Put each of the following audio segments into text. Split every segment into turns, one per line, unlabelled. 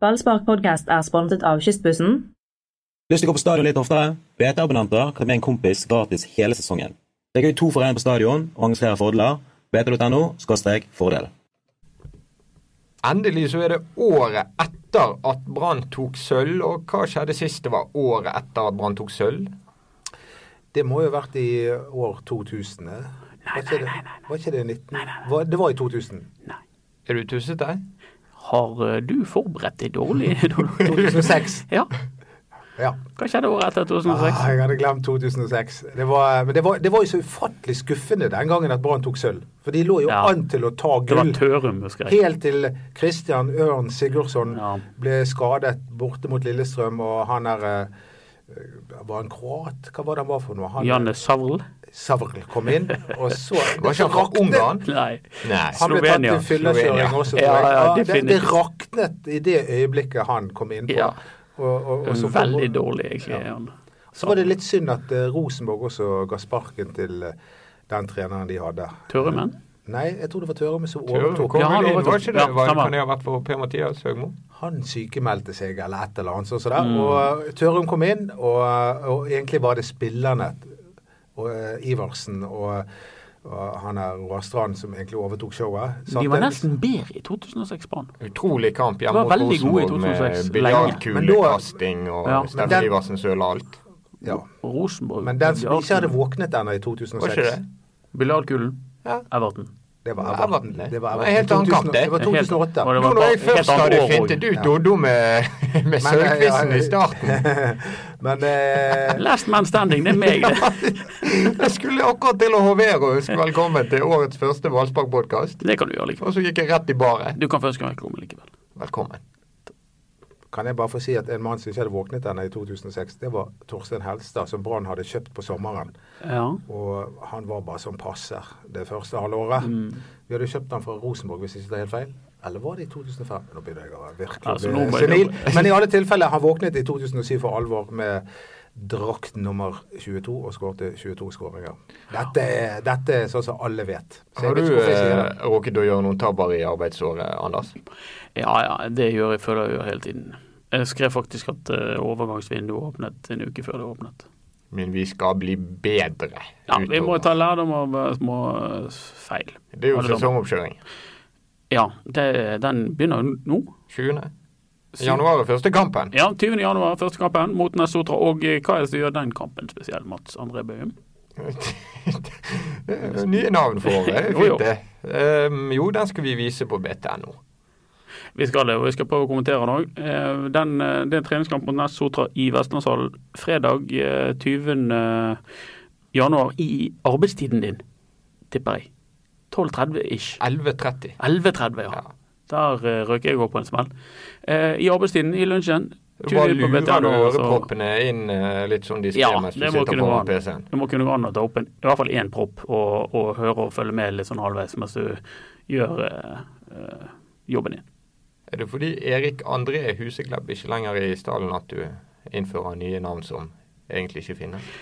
Ballspark podcast er sponset av Kystbussen.
Lyst til å gå på stadion litt oftere? BT-abonnenter kan bli en kompis gratis hele sesongen. Det er gøy to for én på stadion og arrangerer fordeler. BT.no skråstrek fordel.
Endelig så er det året etter at Brann tok sølv, og hva skjedde sist det var året etter at Brann tok sølv?
Det må jo ha vært i år 2000? Nei, nei, nei, Var ikke det 19? Var- Det var i 2000.
Er du tussete?
Har eh, du forberedt deg dårlig?
2006.
ja.
Ja.
Hva skjedde året etter
Ah,
2006?
jeg hadde glemt 2006. Det var, men det var, det var jo så ufattelig skuffende den gangen at Brann tok sølv. For de lå jo
Ja.
an til å ta
Det var
gull.
Tørum, husker jeg.
Helt til Christian Ørn Sigurdsson
Ja.
ble skadet borte mot Lillestrøm, og han er eh, Var han kroat? Hva var det han var for noe? Han,
Janne Savl?
Savrl kom inn, og så
Var ikke han fra
raknet-
Ungarn?
Nei.
Nei.
Han ble tatt i
Slovenia.
fyllekjøring
Slovenia.
også. tror
Ja,
jeg.
ja,
det, det
definitivt.
raknet i det øyeblikket han kom inn på.
Ja.
Og, og, og så,
Veldig dårlig, egentlig. er han.
så var det litt synd at eh, Rosenborg også ga sparken til eh, den treneren de hadde.
Tørumen?
Nei, jeg tror det var Tørum som
Tørum
overtok.
kom
Ja, han
vel inn,
overtok.
var ikke det?
Ja,
Var,
stemmer.
kan det ha vært for Per-Mathias Høgmo?
Han sykemeldte seg eller et eller annet sånt. som
Mm.
det. Og eh, Tørum kom inn, og, eh, og egentlig var det spillerne, og, eh, Iversen og, og han her Roar Strand, som egentlig overtok showet. Satt
De var
en-
nesten bedre i 2006, Brann.
Utrolig kamp
Det
hjemme
var
mot
veldig gode i
Rosenborg
2006,
med
lenge. Men da-
biljardkulekasting og
Ja.
Men
Steffen
den-
Iversen søla alt.
Ja.
Og Rosenborg
Men den som
Biljardkulen.
ikke hadde våknet ennå i
Var
2006
ikke det?
Biljardkulen.
Ja.
Everton.
Det var
Everton,
Everton.
nei.
Det var
Det var
Everton.
en helt annen kamp,
2000
det.
Det var
En helt- var
2008.
det-
Nå når jeg
bare- helt
først
annet
hadde
år
fintet
også.
ut Doddo med, med
Men, eh,
sølvquizen
ja,
i starten
Men eh,
Last man standing, det er meg, det.
Jeg skulle akkurat til å hovere og ønske velkommen til årets første Valspark-podkast.
Det kan du gjøre likevel.
Og så gikk jeg rett i baret.
Du kan først komme velkommen likevel.
Velkommen.
kan jeg bare få si at en mann som ikke hadde våknet ennå i 2006, det var Torstein Helstad, som Brann hadde kjøpt på sommeren.
Ja.
Og han var bare som passer det første halvåret.
Mm.
Vi hadde kjøpt han fra Rosenborg, hvis ikke det er helt feil. Eller var det i 2005? Nå begynner jeg å virkelig
Altså,
bli
nå må jeg-
senil. Men i alle tilfeller, han våknet i 2007 for alvor med drakt nummer 22 og skårte 22 skåringer. Dette, er- dette er sånn som alle vet. Så jeg
Har
vet
du
ikke hvorfor jeg sier det.
eh, rukket å gjøre noen tabber i arbeidsåret, Anders?
ja, ja, det gjør jeg, føler jeg gjør hele tiden. Jeg skrev faktisk at eh, overgangsvinduet åpnet en uke før det åpnet.
Men vi skal bli bedre.
Ja, vi må
utover.
ta sånn. lærdom av eh, små eh, feil.
Det er jo
Alle sammen.
sesongoppkjøring.
Ja, det, den begynner jo nå.
20. januar er første kampen.
Ja, 20. januar, første kampen mot Nessotra. Og eh, hva er det som gjør den kampen spesiell, Mats André Bøhum?
Nye navn for året. det er
Jo, jo.
Fint, det. Ehm, jo, den skal vi vise på BTNO.
Vi skal det, og jeg skal prøve å kommentere den òg. Den, eh, det er en treningskamp mot Ness Sotra i Vestlandshallen fredag eh, 20. januar i arbeidstiden din, tipper jeg. 12.30-ish.
11.30.
11.30, ja.
Ja.
Der eh, røk jeg òg på en smell. Eh, I arbeidstiden, i lunsjen.
Du
tune
bare
inn på
lurer
BTNO, og så-
øreproppene inn eh, litt sånn diskré
altså. Ja,
mens du
det må
sitter
kunne gå
foran
an.
PC-en.
Det må kunne gå an å ta opp en, i hvert fall én propp og, og høre og følge med litt sånn halvveis mens du gjør eh, eh, jobben din.
Er det fordi Erik André Huseklepp ikke lenger er i stallen at du innfører nye navn som egentlig ikke finnes?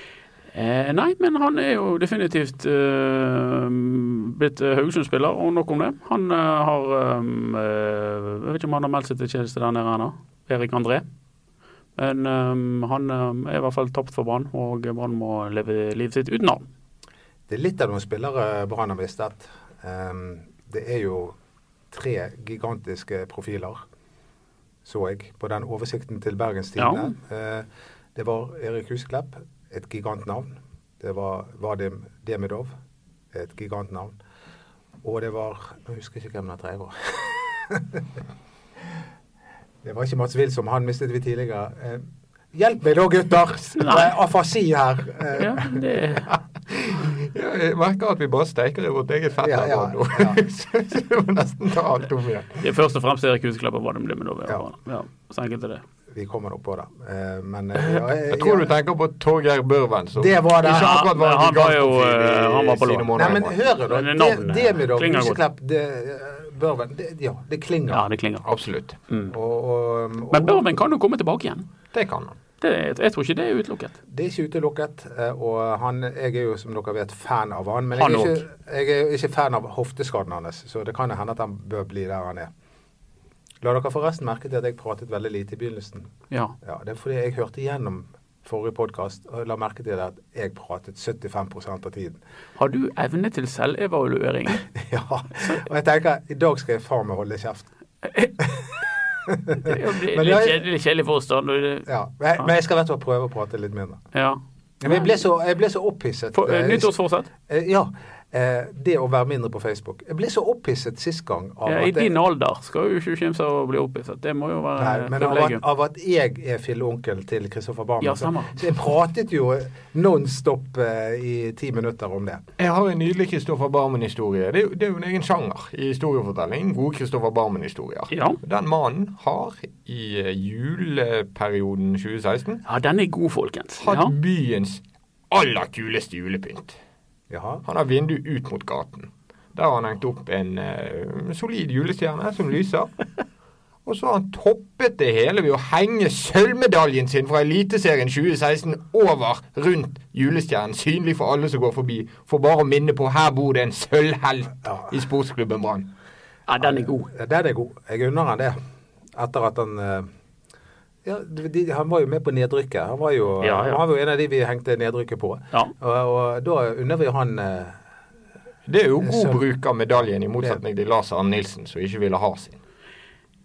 Eh, nei, men han er jo definitivt eh, blitt eh, Haugesund-spiller, og nok om det. Han eh, har eh, Jeg vet ikke om han har meldt seg til tjeneste der nede ennå, Erik André. Men eh, han eh, er i hvert fall tapt for Brann, og Brann må leve livet sitt uten ham.
Det er litt av noen spillere Brann har mistet. Ehm, det er jo tre gigantiske profiler, så jeg, på den oversikten til Bergens Tidende. Eh, det var Erik Husklepp, et gigantnavn. Det var Vadim Demidov, et gigantnavn. Og det var Nå husker jeg ikke hvem den tredje var. det var ikke Mats Wilsom, han mistet vi tidligere. Eh, hjelp meg da, gutter! Det er afasi her. Eh,
Ja, det
Ja, jeg merker at vi bare steiker i vårt eget fett
Ja,
her
ja,
nå.
ja.
så så vi må nesten ta alt om igjen.
Det er først og fremst Erik Huseklepp og Vadim Limenov. Ja. Ja, så enkelt er det.
Vi kommer nok på det. Eh, men eh, ja, eh,
Jeg tror
ja.
du tenker på Torgeir Børven. som
Det var det.
ikke akkurat
Ja,
var
han var jo,
gigantprofil i
eh, han var på
sine
lån.
Nei,
måneder i
men
Brann.
hører du?
Men
Det,
navnet
det med dog,
klinger godt.
Huseklepp, det, eh, Børven det, Ja, det klinger.
Ja, det klinger.
Absolutt.
Mm.
og, og, og,
Men Børven kan jo komme tilbake igjen.
Det kan han.
Det, jeg tror ikke det er utelukket.
Det er ikke utelukket. eh, Og han, jeg er jo, som dere vet, fan av han. Men
Han
jeg, er ikke, jeg er jo ikke fan av hofteskaden hans, så det kan jo hende at han bør bli der han er. La dere forresten merke til at jeg pratet veldig lite i begynnelsen.
Ja.
Ja, Det er fordi jeg hørte igjennom forrige podkast og la merke til at jeg pratet 75 av tiden.
Har du evne til selvevaluering?
Ja, Og jeg tenker i dag skal jeg faen meg holde kjeft.
Det er jo litt
Men jeg-
kjedelig- litt kjedelig for oss, da. når det-
Ja, Men jeg, men jeg skal i hvert fall prøve å prate litt mindre.
Ja.
Men jeg ble så, jeg ble så opphisset.
For, eh,
eh,
nyttårsforsett?
eh, Ja. eh, Det å være mindre på Facebook. Jeg ble så opphisset sist gang av
Ja, Eh, I
at jeg-
din alder skal jo ikke kimse av å bli opphisset. Det må jo være
Nei,
et
men av at,
privilegium.
av at jeg er filleonkel til Kristoffer Barmen.
Ja,
så,
stemmer.
så jeg pratet jo nonstop eh, i ti minutter om det.
Jeg har en nydelig Kristoffer Barmen-historie. Det, er jo- det er jo en egen sjanger i historiefortelling. Gode Kristoffer Barmen-historier.
Ja.
Den mannen har i eh, juleperioden 2016
Ja, den er god, folkens.
hatt
Ja.
byens aller kuleste julepynt.
Jaha.
Han har vindu ut mot gaten. Der har han hengt opp en eh, solid julestjerne som lyser. Og så har han toppet det hele ved å henge sølvmedaljen sin fra Eliteserien 2016 over rundt julestjernen, synlig for alle som går forbi, for bare å minne på her bor det en sølvhelt i sportsklubben Brann.
ja, den er god.
Ja, Den er god. Jeg unner han det. Etter at han eh, ja, de, Han var jo med på nedrykket. Han var jo,
Ja, ja.
han var jo en av de vi hengte nedrykket på.
Ja.
Og, og da unner vi han eh,
Det er jo god
Sølv.
bruk av medaljen, i motsetning til Lars Arne Nilsen, som ikke ville ha sin.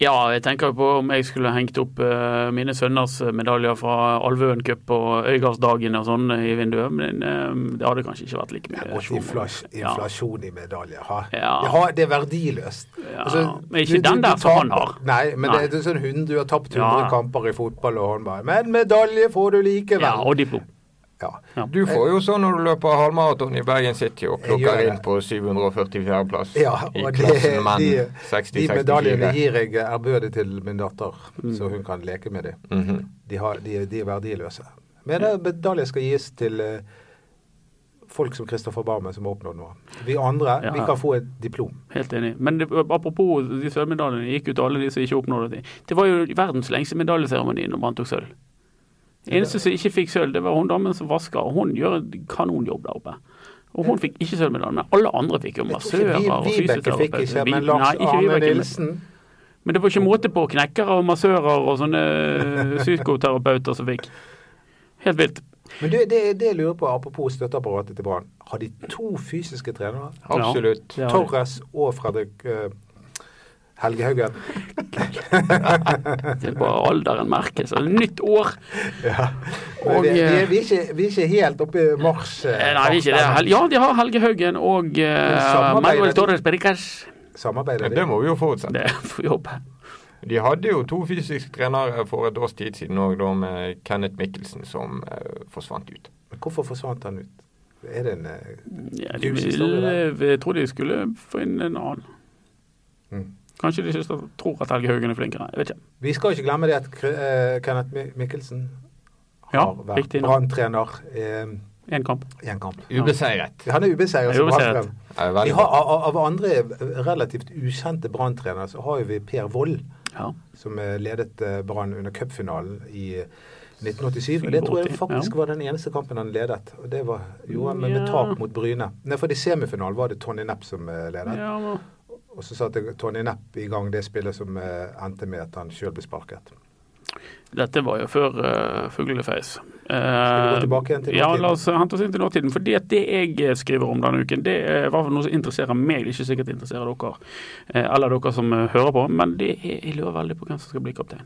Ja, jeg tenker jo på om jeg skulle hengt opp eh, mine sønners medaljer fra Alvøen Cup og Øygardsdagen og sånn i vinduet, men eh, det hadde kanskje ikke vært like mye.
inflas,
Ja.
inflasjon i medaljer. Ha.
Ja.
det er verdiløst. Altså,
Ja, men ikke den der som han har.
Nei, men
Nei.
det er sånn hund, du har tapt 100
Ja.
kamper i fotball og håndball. Men medalje får du likevel.
Ja, og diplom.
Ja.
Du får jo sånn når du løper halvmaraton i Bergen City og
Jeg gjør
plukker
det.
inn på 744. plass
Ja,
i
og det,
klassen menn
de, de
60-64.
medaljene gir jeg ærbødig til min datter,
Mm.
så hun kan leke med dem.
Mhm.
de, har, de, de er verdiløse. Men eh, medaljer skal gis til eh, folk som Kristoffer Barmen, som har oppnådd noe. Vi andre
Ja.
vi kan få et diplom.
Helt enig. Men det, apropos de sølvmedaljene, gikk jo til alle de som ikke oppnådde de. Det var jo verdens lengste medaljeseremoni når Brann tok sølv. Eneste som ikke fikk sølv, det var hun damen som vasker, og hun gjør en kanonjobb der oppe. Og hun fikk ikke sølvmedalje, men alle andre fikk jo
Jeg tror
massører
ikke vi-
og
Vibeke fikk
fysioterapeuter.
ikke,
Vi-
men Lars
nei, ikke
Arne
Vibeke, men-
Nilsen
Men det var ikke måte på knekkere og massører og sånne eh, psykoterapeuter som fikk. Helt vilt.
Men du, det, det jeg lurer på, apropos støtteapparatet til Brann. Har de to fysiske trenere?
Absolutt.
Ja, det har de.
Torres og Fredrik eh, Helge Haugen.
Det er bare alderen merkes. Altså, Nytt år.
Men
Og,
vi, vi, er,
eh,
vi, er ikke, vi er ikke helt oppe i mars. eh,
Eh, Nei, vi er ikke det.
ennå.
Hel- Ja, de har Helge Haugen og eh,
samarbeidet-
Manuel Torres Pericas.
Samarbeider de?
Det må vi jo forutsette.
Det får vi håpe.
De hadde jo to fysiske trenere for et års tid siden òg, da med Kenneth Mikkelsen som eh, forsvant ut.
Men Hvorfor forsvant han ut? Er det en eh,
Ja, de
Ljus historie,
vil, jeg tror de skulle få inn en annen.
Mm.
Kanskje de synes de tror at Helge Haugen er flinkere. Jeg vet ikke.
Vi skal ikke glemme det at Kr- eh, Kenneth Mi- Mikkelsen har
Ja,
vært
riktig nok.
Brann-trener eh,
Én kamp.
i en kamp.
Ubeseiret.
Han er ubeseiret.
Er
som Brann-trener.
ubeseiret.
Det er
Vi
veldig
har-
bra.
Av av andre relativt ukjente Brann-trenere så har jo vi Per Wold,
Ja.
som eh, ledet eh, Brann under cupfinalen i 1987. Og det tror jeg
84,
faktisk
ja.
var den eneste kampen han ledet. Og det var, gjorde han med, med
Ja.
tap mot Bryne. Nei, for i semifinalen var det Tony Nepp som eh, ledet.
Ja, men-
Og så satte Tony Nepp i gang det spillet som eh, endte med at han sjøl ble sparket.
Dette var jo før uh, fuglefeis. Eh,
Skal vi gå tilbake igjen til
ja,
nåtiden?
la oss hente oss inn til nåtiden. For det jeg eh, skriver om denne uken, det er i hvert fall noe som interesserer meg. Det er ikke sikkert det interesserer dere, eh, eller dere som eh, hører på, men det er, jeg lurer veldig på hvem som skal bli kaptein.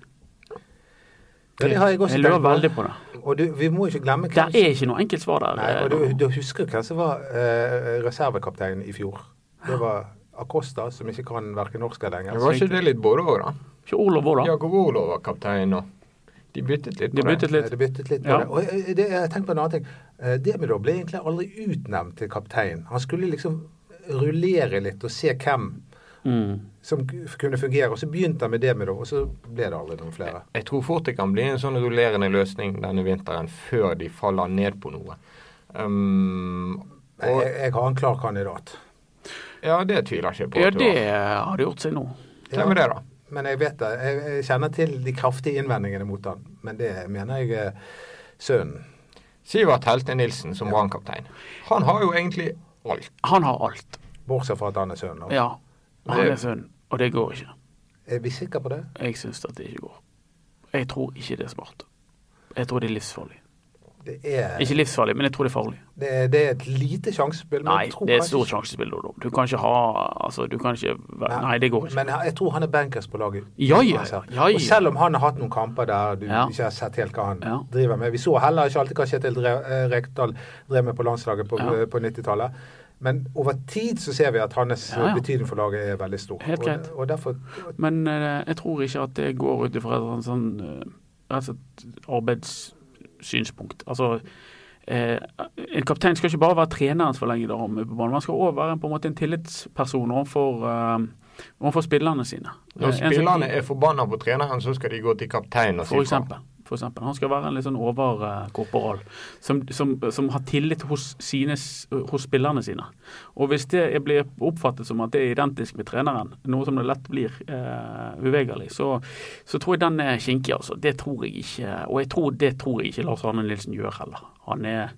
Ja, det har jeg også
Jeg lurer
tenkt på.
veldig på det.
Og du, vi må ikke glemme
Det
hvem
er ikke noe enkelt svar der.
Nei,
eh,
og du, du husker hvem som var eh, reservekaptein i fjor. Det var Acosta, som ikke kan verken norsk eller
Men
engelsk.
Var ikke det litt både òg, da?
Ikke Olav Våla.
Jakob Olav var kaptein nå. De byttet litt på
De
det.
byttet litt.
Det byttet litt på
Ja.
det. Og eh, det, jeg tenkte på en annen ting. Eh, Demidov ble egentlig aldri utnevnt til kaptein. Han skulle liksom rullere litt og se hvem
Mm.
som k- kunne fungere. Og så begynte han med Demidov, og så ble det aldri noen flere.
Jeg tror fort det kan bli en sånn rullerende løsning denne vinteren, før de faller ned på noe. Um,
Jeg,
og,
jeg har en klar kandidat.
ja, det tviler jeg ikke på.
Ja,
at du
det
har.
har det gjort seg nå.
Hvem er det, da?
Men jeg vet det. Jeg, jeg kjenner til de kraftige innvendingene mot han. Men det mener jeg eh, sønnen.
Sivert Helte Nilsen som brannkaptein. Han har jo egentlig alt.
Han har alt.
Bortsett fra at han er sønnen.
Ja. Og Han er sønn, og det går ikke.
Er vi sikre på det?
Jeg syns at det ikke går. Jeg tror ikke det er smart. Jeg tror det er livsfarlig.
Det er,
Ikke livsfarlig, men jeg tror det er farlig.
det er, det er et lite sjansespill. men
Nei,
jeg tror
det er et
kanskje-
stort sjansespill. da. Du kan ikke ha Altså, du kan ikke være- Nei, det går ikke.
Men jeg tror han er bankers på laget.
Ja, ja,
Altså,
ja, ja.
Og selv om han har hatt noen kamper der du
Ja.
ikke har sett helt hva han
Ja.
driver med. Vi så heller ikke alltid hva Kjetil Dre- eh, Rekdal drev med på landslaget på, eh,
Ja.
på 90-tallet. Men over tid så ser vi at hans
Ja, ja.
betydning for laget er veldig stor.
Helt greit.
Og, og derfor
Men eh, jeg tror ikke at det går ut ifra et sånn- sånn eh, rett og slett arbeidssynspunkt. Altså, eh, en kaptein skal ikke bare være trenerens forlengede arm på banen. Man skal òg være en, på en måte en tillitsperson overfor, eh, overfor spillerne sine. Eh, en
Når
som-
spillerne er forbanna på treneren, så skal de gå til kapteinen og si fra.
for eksempel, for eksempel. Han skal være en litt sånn overkorporal som, som, som har tillit hos, sine, s- hos spillerne sine. Og hvis det er- blir oppfattet som at det er identisk med treneren, noe som det lett blir eh, uvegerlig, så, så tror jeg den er kinkig, altså. Det tror jeg ikke. Og jeg tror, det tror jeg ikke Lars Arne Nilsen gjør heller. Han er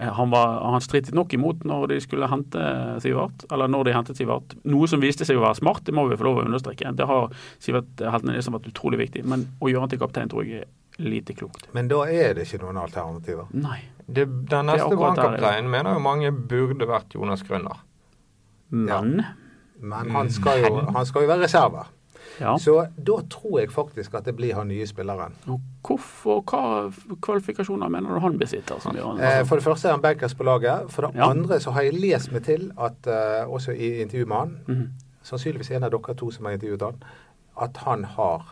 eh, han, var, han strittet nok imot når de skulle hente eh, Sivert, eller når de hentet Sivert. Noe som viste seg å være smart, det må vi få lov å understreke. Det har Sivert eh, Heltene Nilsen vært utrolig viktig, men å gjøre han til kaptein tror jeg er lite klokt.
Men da er det ikke noen alternativer.
Nei.
Det, den neste
akkurat der,
brannkapteinen mener jo mange burde vært Jonas Grønner.
Men
Men han skal jo, han skal jo være reserve.
Mm. ja.
Så da tror jeg faktisk at det blir han nye spilleren.
Og Hvorfor, hva kvalifikasjoner mener du han besitter? Som gjør han,
Eh, For det første er han bankers på laget. For det
Altså- Ja.
andre så har jeg lest meg til at eh, også i intervju med han, sannsynligvis en av dere to som har intervjuet han, at han har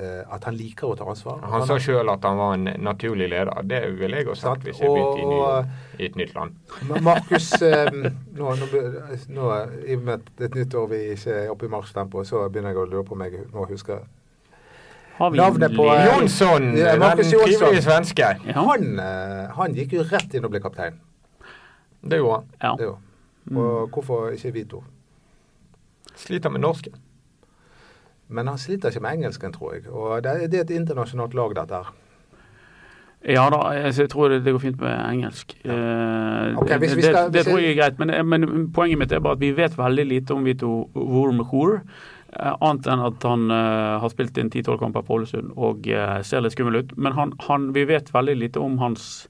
eh, at han liker å ta ansvar.
Han sa sjøl at han var en naturlig leder. Det ville jeg også
Sant,
sagt hvis jeg
og-
begynte i,
eh,
og-
ny, i et nytt land.
Men Markus eh, nå, nå, be- nå, I og med at det er et nytt år vi ikke er oppe i marsjtempo, så begynner jeg å lure på om jeg nå husker
har vi
navnet på,
le-
eh,
Jonsson!
Ja,
den
Markus Jonsson.
trivelige svenske.
ja.
han, eh, han gikk jo rett inn og ble kaptein.
Det gjorde han.
Ja.
Det jo. Og hvorfor ikke vi to?
Sliter med norsken.
Men han sliter ikke med engelsken, tror jeg. Og det, er- det er et internasjonalt lag, dette her.
Ja da, altså, jeg tror det, det går fint med engelsk. Eh,
Ok, hvis vi
det,
skal-
det,
hvis
det tror
jeg-
jeg er greit, men, men poenget mitt er bare at vi vet veldig lite om Vito Wormhoor. Annet enn at han eh, har spilt inn 10-12 kamper på Ålesund og eh, ser litt skummel ut. Men han, han, vi vet veldig lite om hans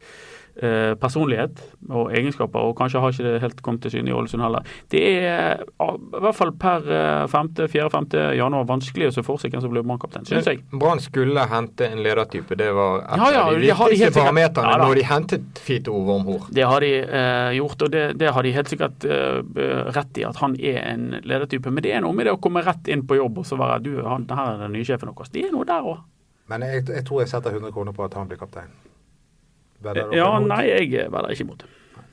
eh, personlighet og egenskaper, og kanskje har ikke det helt kommet til syne i Ålesund heller. Det er ah, i hvert fall per eh, 4.-5. januar vanskelig å se for seg hvem som blir brannkaptein, syns jeg.
Brann skulle hente en ledertype. Det var et
Ja, ja,
av de
det har
viktigste
de helt sikkert.
parameterne
Ja, da.
når de hentet Fito Wormhor.
Det har de eh, gjort, og det, det har de helt sikkert eh, b- rett i, at han er en ledertype. Men det er noe med det å komme rett inn på jobb og så være du, han, her er den nye sjefen vår. Det er noe der òg.
Men jeg, jeg tror jeg setter 100 kroner på at han blir kaptein. Vedder dere
Ja,
imot?
nei, jeg er bare ikke imot det.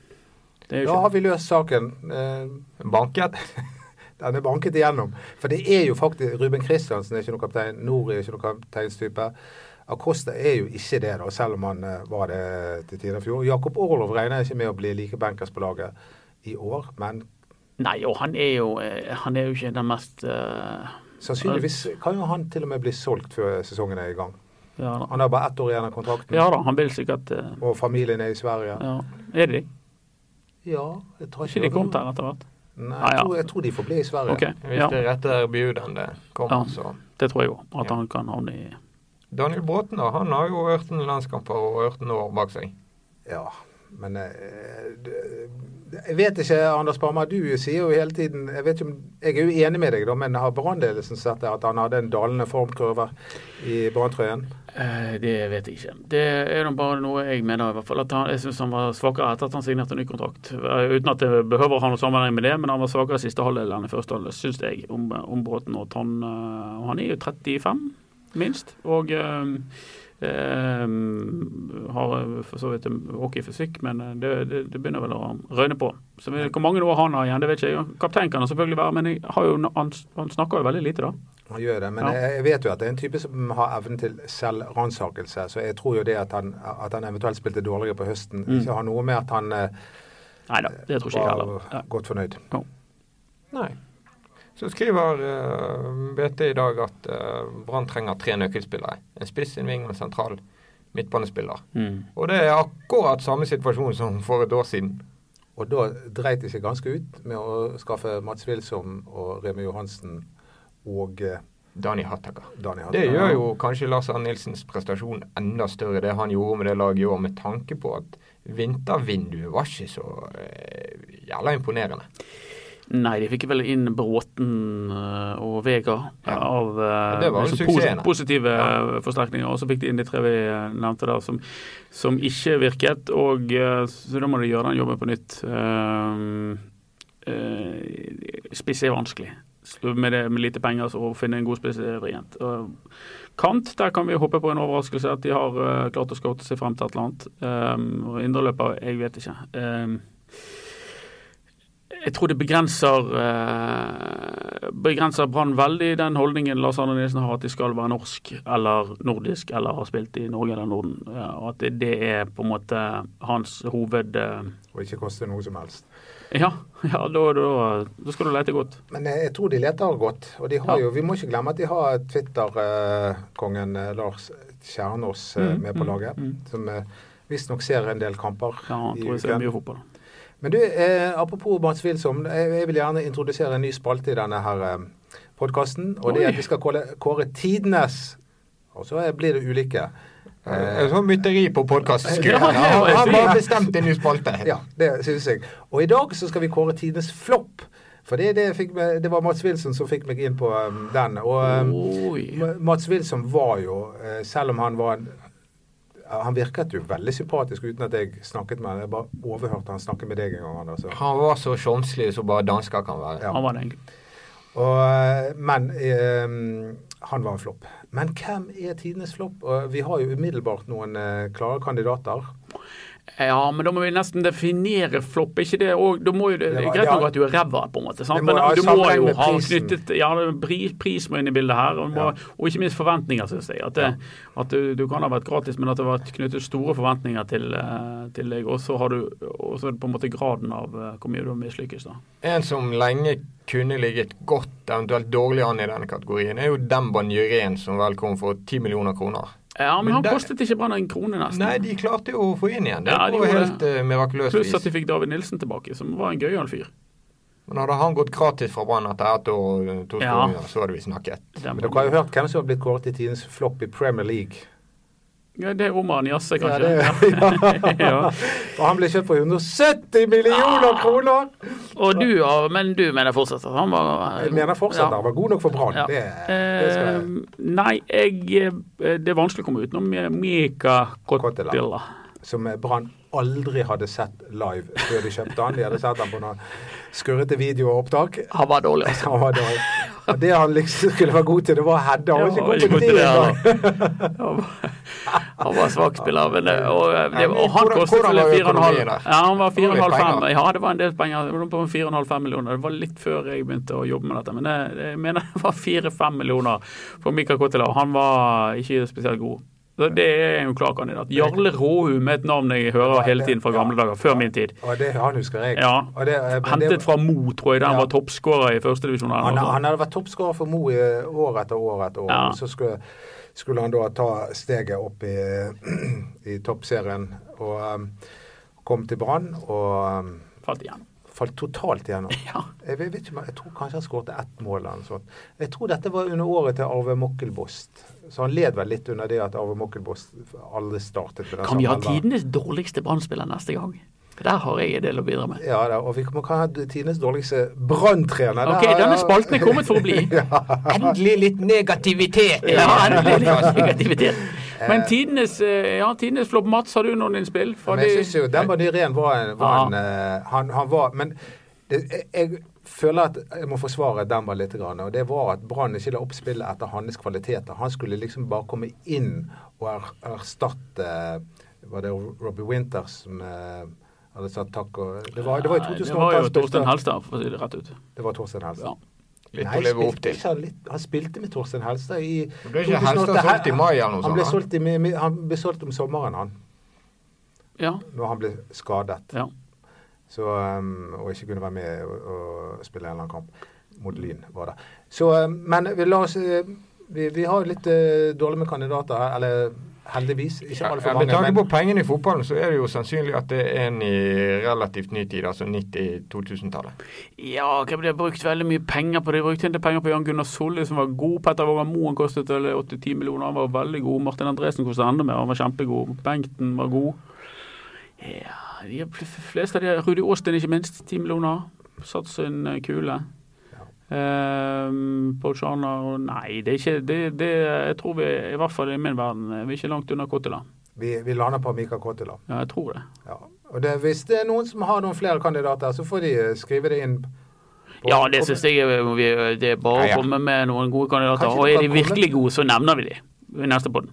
Da
Det er jo
har
ikke
vi løst saken. Eh,
Banket.
Den er banket igjennom. For det er jo faktisk Ruben Kristiansen er ikke noen kaptein. Nord er ikke noen kapteinstype. Acosta er jo ikke det, da, selv om han eh, var det til tider i fjor. Jakob Orlov regner jeg ikke med å bli like bankers på laget i år, men
Nei, og han er jo, eh, han er jo ikke den mest eh,
sannsynligvis kan jo han til og med bli solgt før sesongen er i gang.
ja, da.
Han har bare ett år igjen av kontrakten,
ja da, han vil sikkert eh,
og familien er i Sverige.
ja. Er det de?
Ja, jeg tror
Ikke de kommet her etter hvert?
Nei,
Ah,
jeg
ja.
tror, jeg tror de får bli i Sverige.
Ok,
Hvis
ja,
det rette bjudende kommer,
Ja.
så
det tror jeg òg. At
Ja.
han kan havne i
Daniel Bråten da, han har jo 18 landskamper og 18 år bak seg.
Ja, men eh, d- jeg vet ikke, Anders Parma, du sier jo hele tiden Jeg vet ikke om, jeg er jo enig med deg, da, men har Brannledelsen sett det at han hadde en dalende formkurve i branntrøyen?
Eh, Det vet jeg ikke. Det er nå bare noe jeg mener. i hvert fall. At han, jeg syns han var svakere etter at han signerte ny kontrakt. Eh, Uten at det behøver å ha noe sammenheng med det, men han var svakere i siste halvdel enn i første halvdel, syns jeg, om, om Bråten. Og han, eh, han er jo 35, minst. Og eh, eh, har for så vidt en ok fysikk, men eh, det, det, det begynner vel å røyne på. Så vi- Hvor mange år han har igjen, det vet ikke jeg. Kaptein kan han selvfølgelig være, men jeg har jo, han, han snakker jo veldig lite, da.
Han gjør det, men
Ja.
jeg, jeg vet jo at det er en type som har evnen til selvransakelse, så jeg tror jo det at han, at han eventuelt spilte dårligere på høsten, ikke har noe med at han eh,
Nei da, det Mm. tror ikke jeg heller.
var godt fornøyd.
Nei. Så skriver eh, BT i dag at eh, Brann trenger tre nøkkelspillere. En spiss, en ving og en sentral midtbanespiller.
Ja. Mm.
Og det er akkurat samme situasjon som for et år siden.
Og da dreit de seg ganske ut med å skaffe Mats Wilsom og Remi Johansen og eh,
Dani Hattaka.
Daniel
Det
Hattara.
gjør jo kanskje Lars Arne Nilsens prestasjon enda større, det han gjorde med det laget i år, med tanke på at vintervinduet var ikke så eh, jævla imponerende.
Nei, de fikk vel inn Bråten eh, og Vega eh, av eh,
Det var jo
liksom posi-
suksessene.
positive eh, forsterkninger. Og så fikk de inn de tre vi eh, nevnte der som, som ikke virket. Og eh, så da må de gjøre den jobben på nytt. Eh, eh, Spiss er vanskelig. Så Med, det, med lite penger så å finne en god spiss er vrient. Og Kant, der kan vi håpe på en overraskelse. At de har eh, klart å scoute seg frem til et eller annet. Eh, og Indreløper, jeg vet ikke. Eh, jeg tror det begrenser eh, begrenser Brann veldig den holdningen Lars Arne Nilsen har at de skal være norsk eller nordisk eller har spilt i Norge eller Norden. Ja, og at det, det er på en måte hans hoved... Eh,
Og ikke koste noe som helst.
ja, ja da, da, da skal du lete godt.
Men eh, jeg jeg tror de leter godt. Og de har
Ja.
jo, vi må ikke glemme at de har Twitter-kongen eh, Lars Kjernås eh,
Mm,
med på laget. Som eh, visstnok ser en del kamper
Ja, han
i
tror jeg ser
uken.
mye fotball.
Men du, eh, apropos Mats Wilsom. Jeg, jeg vil gjerne introdusere en ny spalte i denne her eh, podkasten. Og det
Oi.
er at vi skal kåre, kåre tidenes Og så eh, blir det ulike.
Eh, sånn mytteri på
Ja,
podkastskuret.
det
Ja,
var
han
fint.
bare bestemte en ny spalte.
Ja, det synes jeg. Og i dag så skal vi kåre tidenes flopp. For det, det, fikk meg, det var Mats Wilson som fikk meg inn på eh, den. Og eh,
Oi.
Ma- Mats Wilson var jo, eh, selv om han var en han virket jo veldig sympatisk uten at jeg snakket med han. Jeg bare overhørte han snakke med deg en gang. Anders.
Han var så sjonslig som bare dansker kan være.
Ja.
Han var det egentlig.
Og, eh, men eh, han var en flopp. Men hvem er tidenes flopp? Og Vi har jo umiddelbart noen eh, klare kandidater.
Ja, men da må vi nesten definere flopp. Er Ikke det, og, da må jo det,
Det var-
Greit
ja.
nok at du er ræva, på en måte, sant?
Det må
men
ha
du må
sammenheng
jo
med
ha
prisen.
knyttet Ja, det er pri- pris må inn i bildet her, og, du må, og ikke minst forventninger, syns jeg. At, det, at du, du kan ha vært gratis, men at det har vært knyttet store forventninger til, eh, til deg. Og så har du og så er det på en måte graden av eh, hvor mye du har mislykkes, da.
En som lenge kunne ligget godt, eventuelt dårlig an i denne kategorien, er jo Demban Jyrén, som vel kom for 10 millioner kroner.
Ja, men,
Men
han
der-
kostet ikke Brann en krone, nesten.
Nei, de klarte jo å få inn igjen. Det
Ja,
var
de
jo
gjorde
helt eh, mirakuløst
Pluss
vis.
at de fikk David Nilsen tilbake, som var en gøyal fyr.
Men hadde han gått gratis fra Brann etter ett år, eh, to
Ja.
skoler, så hadde vi snakket.
Den
Men
var-
dere har jo hørt hvem som har blitt kåret til tidenes flopp i Premier League.
Ja, det er romeren Jasse,
Ja,
kanskje. Ja, ja. Ah,
Og han ble kjøpt for 170 millioner kroner!
Og du, har- men du mener fortsatt at han var
Jeg mener fortsatt
Ja.
han var god nok for Brann.
Ja.
Det, det skal
Eh,
jeg
nei, jeg eh, Det er vanskelig å komme utenom Mika Kotila.
Kottila. som Brann aldri hadde sett live før de kjøpte han. De hadde sett han på noen skurrete videoopptak.
Han var dårlig, altså.
Han var dårlig. Og det han liksom skulle være god til, det var å heade. Han var
Ja,
ikke
han var
god
ikke
til det
god
engang.
til det, Han var- han var svak spiller. Men det, og, eh, det, og han
Hvordan-
kostet
hvordan
vel
var
4,5
økonomien
Ja,
der?
han var
Det var litt
4,5.
penger.
Ja, det var en del penger. Det var på 4,5 millioner. Det var litt før jeg begynte å jobbe med dette. Men det- det- jeg mener det var 4-5 millioner for Mika Kotila, og han var ikke spesielt god. Så Det er en klar kandidat. Jarle Råhum er et navn jeg hører hele tiden fra gamle dager, før min tid.
Og det han husker jeg.
Ja.
Og det, eh, men det-
Hentet fra Mo, tror jeg, da
Ja.
han var toppskårer i førstedivisjon.
han, han hadde vært toppskårer for Mo i år etter år etter år.
Ja.
Og så skulle, skulle han da ta steget opp i, i toppserien og um, kom til Brann og um,
Falt igjen.
falt totalt igjennom.
Ja.
Jeg, vet ikke, men jeg tror kanskje han skåret ett mål eller noe sånt. Jeg tror dette var under året til Arve Mokkelbost. Så han led vel litt under det at Arve Mokkelbost aldri startet med den
Kan vi ha
samme elveren.
tidenes dårligste brannspiller neste gang? Der har jeg en del å bidra med.
Ja da, og vi kan kan ha tidenes dårligste branntrener.
Ok, denne spalten er kommet for å bli.
Endelig litt negativitet!
Ja, endelig litt negativitet. Men tidenes, eh, ja, tidenes flopp. Mats, har du noen innspill? Fra
Men jeg
de-
syns jo Demba Nyrén var en, var en eh, han, han var Men det, jeg, jeg føler at jeg må forsvare Demba litt. Grann, og det var at Brann ikke la opp spillet etter hans kvaliteter. Han skulle liksom bare komme inn og er, erstatte Var det Robbie Winters som eh, hadde sagt takk og Det var, det var i
Nei,
2008.
det var jo
han spilte-
Torstein Helstad, for å si det rett ut.
Det var Torstein Helstad.
Ja.
Litt
Nei,
å leve opp
spilte
til.
ikke han, litt, han spilte med Torstein Helstad i
ble ikke Helstad
2008.
solgt i mai eller noe
han ble
sånt,
solgt i mi- mi- Han ble solgt om sommeren, han.
Ja,
Når han ble skadet.
ja.
Så, um, og ikke kunne være med og, og spille en eller annen kamp mot Lyn, var det. Så, um, men vi, la oss, eh, vi, vi har litt eh, dårlig med eh, kandidater her, eller Heldigvis. Ikke
Ja,
altfor
med
mange.
tanke
men-
på pengene i fotballen, så er det jo sannsynlig at det er en i relativt ny tid, altså 90-2000-tallet.
Ja, de har brukt veldig mye penger på det. De brukte en del penger på Jan Gunnar Solli, som var god. Petter Vågan Moen kostet vel 8-10 millioner, han var veldig god. Martin Andresen kostet enda mer, han var kjempegod. Bengten var god. Ja, de de fleste av de Rudi Aastin, ikke minst. 10 millioner. Satt sin eh, kule. Ehm, Paul Schaner Nei, det er ikke det, det Jeg tror vi, i hvert fall i min verden, vi er ikke langt unna Kottela.
Vi, vi lander på Mika Kotila.
Ja, jeg tror det.
Ja. Og det, hvis det er noen som har noen flere kandidater, så får de eh, skrive det inn. på-
Ja, det syns jeg er- vi, eh, det er bare
Ja, ja.
å komme med noen gode kandidater.
Kanskje du
Og er
kan
de
komme-
virkelig gode, så nevner vi de i neste podd.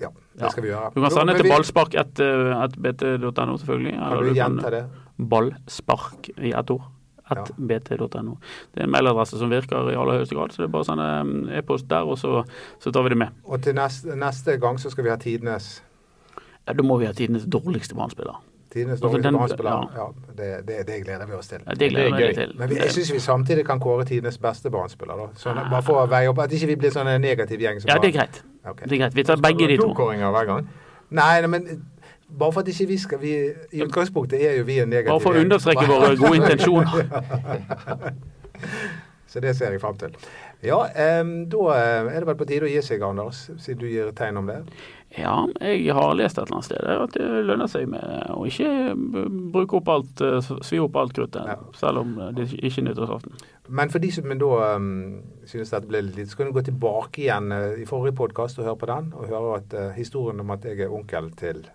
Ja,
Ja.
det skal vi gjøre.
Du kan sende
Men
til
vi-
ballspark.bt.no, selvfølgelig.
Kan du gjenta det?
Ballspark i ett ord. At
Ja.
bt.no. Det er en mailadresse som virker i aller høyeste grad, så det er bare å sende mm, e-post der, og så, så tar vi det med.
Og til neste, neste gang så skal vi ha tidenes
Ja, Da må vi ha tidenes dårligste Brann-spiller.
Tidenes
Altså,
dårligste
den-
barnespiller. Ja, det, det, det gleder vi oss til.
Ja, det gleder
Det er
jeg meg
gøy.
til.
Men vi, jeg syns vi samtidig kan kåre tidenes beste barnespiller, da. Sånn, at- bare for å veie opp at ikke vi blir sånn en negativ gjeng. Som
Ah. Ja,
bare-
det er greit.
Ok.
Det er greit. Vi tar begge de to.
kåringer hver gang.
Nei, nei, men bare for at ikke vi skal vi, I utgangspunktet er jo vi en negativ
Bare for å
gjeng.
understreke våre gode intensjoner.
Så det ser jeg frem til. Ja, em, da eh, er det vel på tide å gi seg, Anders, siden du gir et tegn om det.
Ja, jeg har lest et eller annet sted at det lønner seg med å ikke b- bruke opp alt, eh, svi opp alt kruttet,
Ja.
selv om eh, det ikke- ikke er nyttårsaften.
Men for de som da um, synes dette ble litt litt, så kan du gå tilbake igjen eh, i forrige podkast og høre på den, og høre at eh, historien om at jeg er onkel til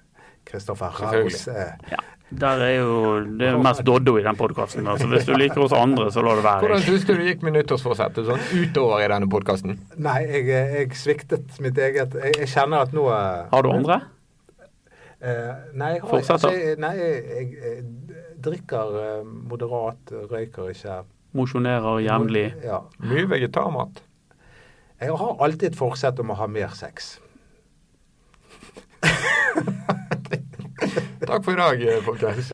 Kristoffer Raus
Selvfølgelig.
eh,
Ja. Der er jo det er mest Doddo i den podkasten. Altså, hvis du liker oss andre, så la det
Hvordan
være.
syns du det gikk med nyttårsforsettet sånn utover i denne podkasten?
Nei, jeg, eh, jeg sviktet mitt eget Jeg, jeg kjenner at nå eh,
Har du andre?
eh, Nei, jeg, har-
Fortsetter.
altså, jeg, nei, jeg, jeg, eh, drikker eh, moderat, røyker ikke.
Mosjonerer jevnlig.
Ja.
Mye vegetarmat.
Jeg har alltid et forsett om å ha mer sex.
Takk for i dag, eh, folkens.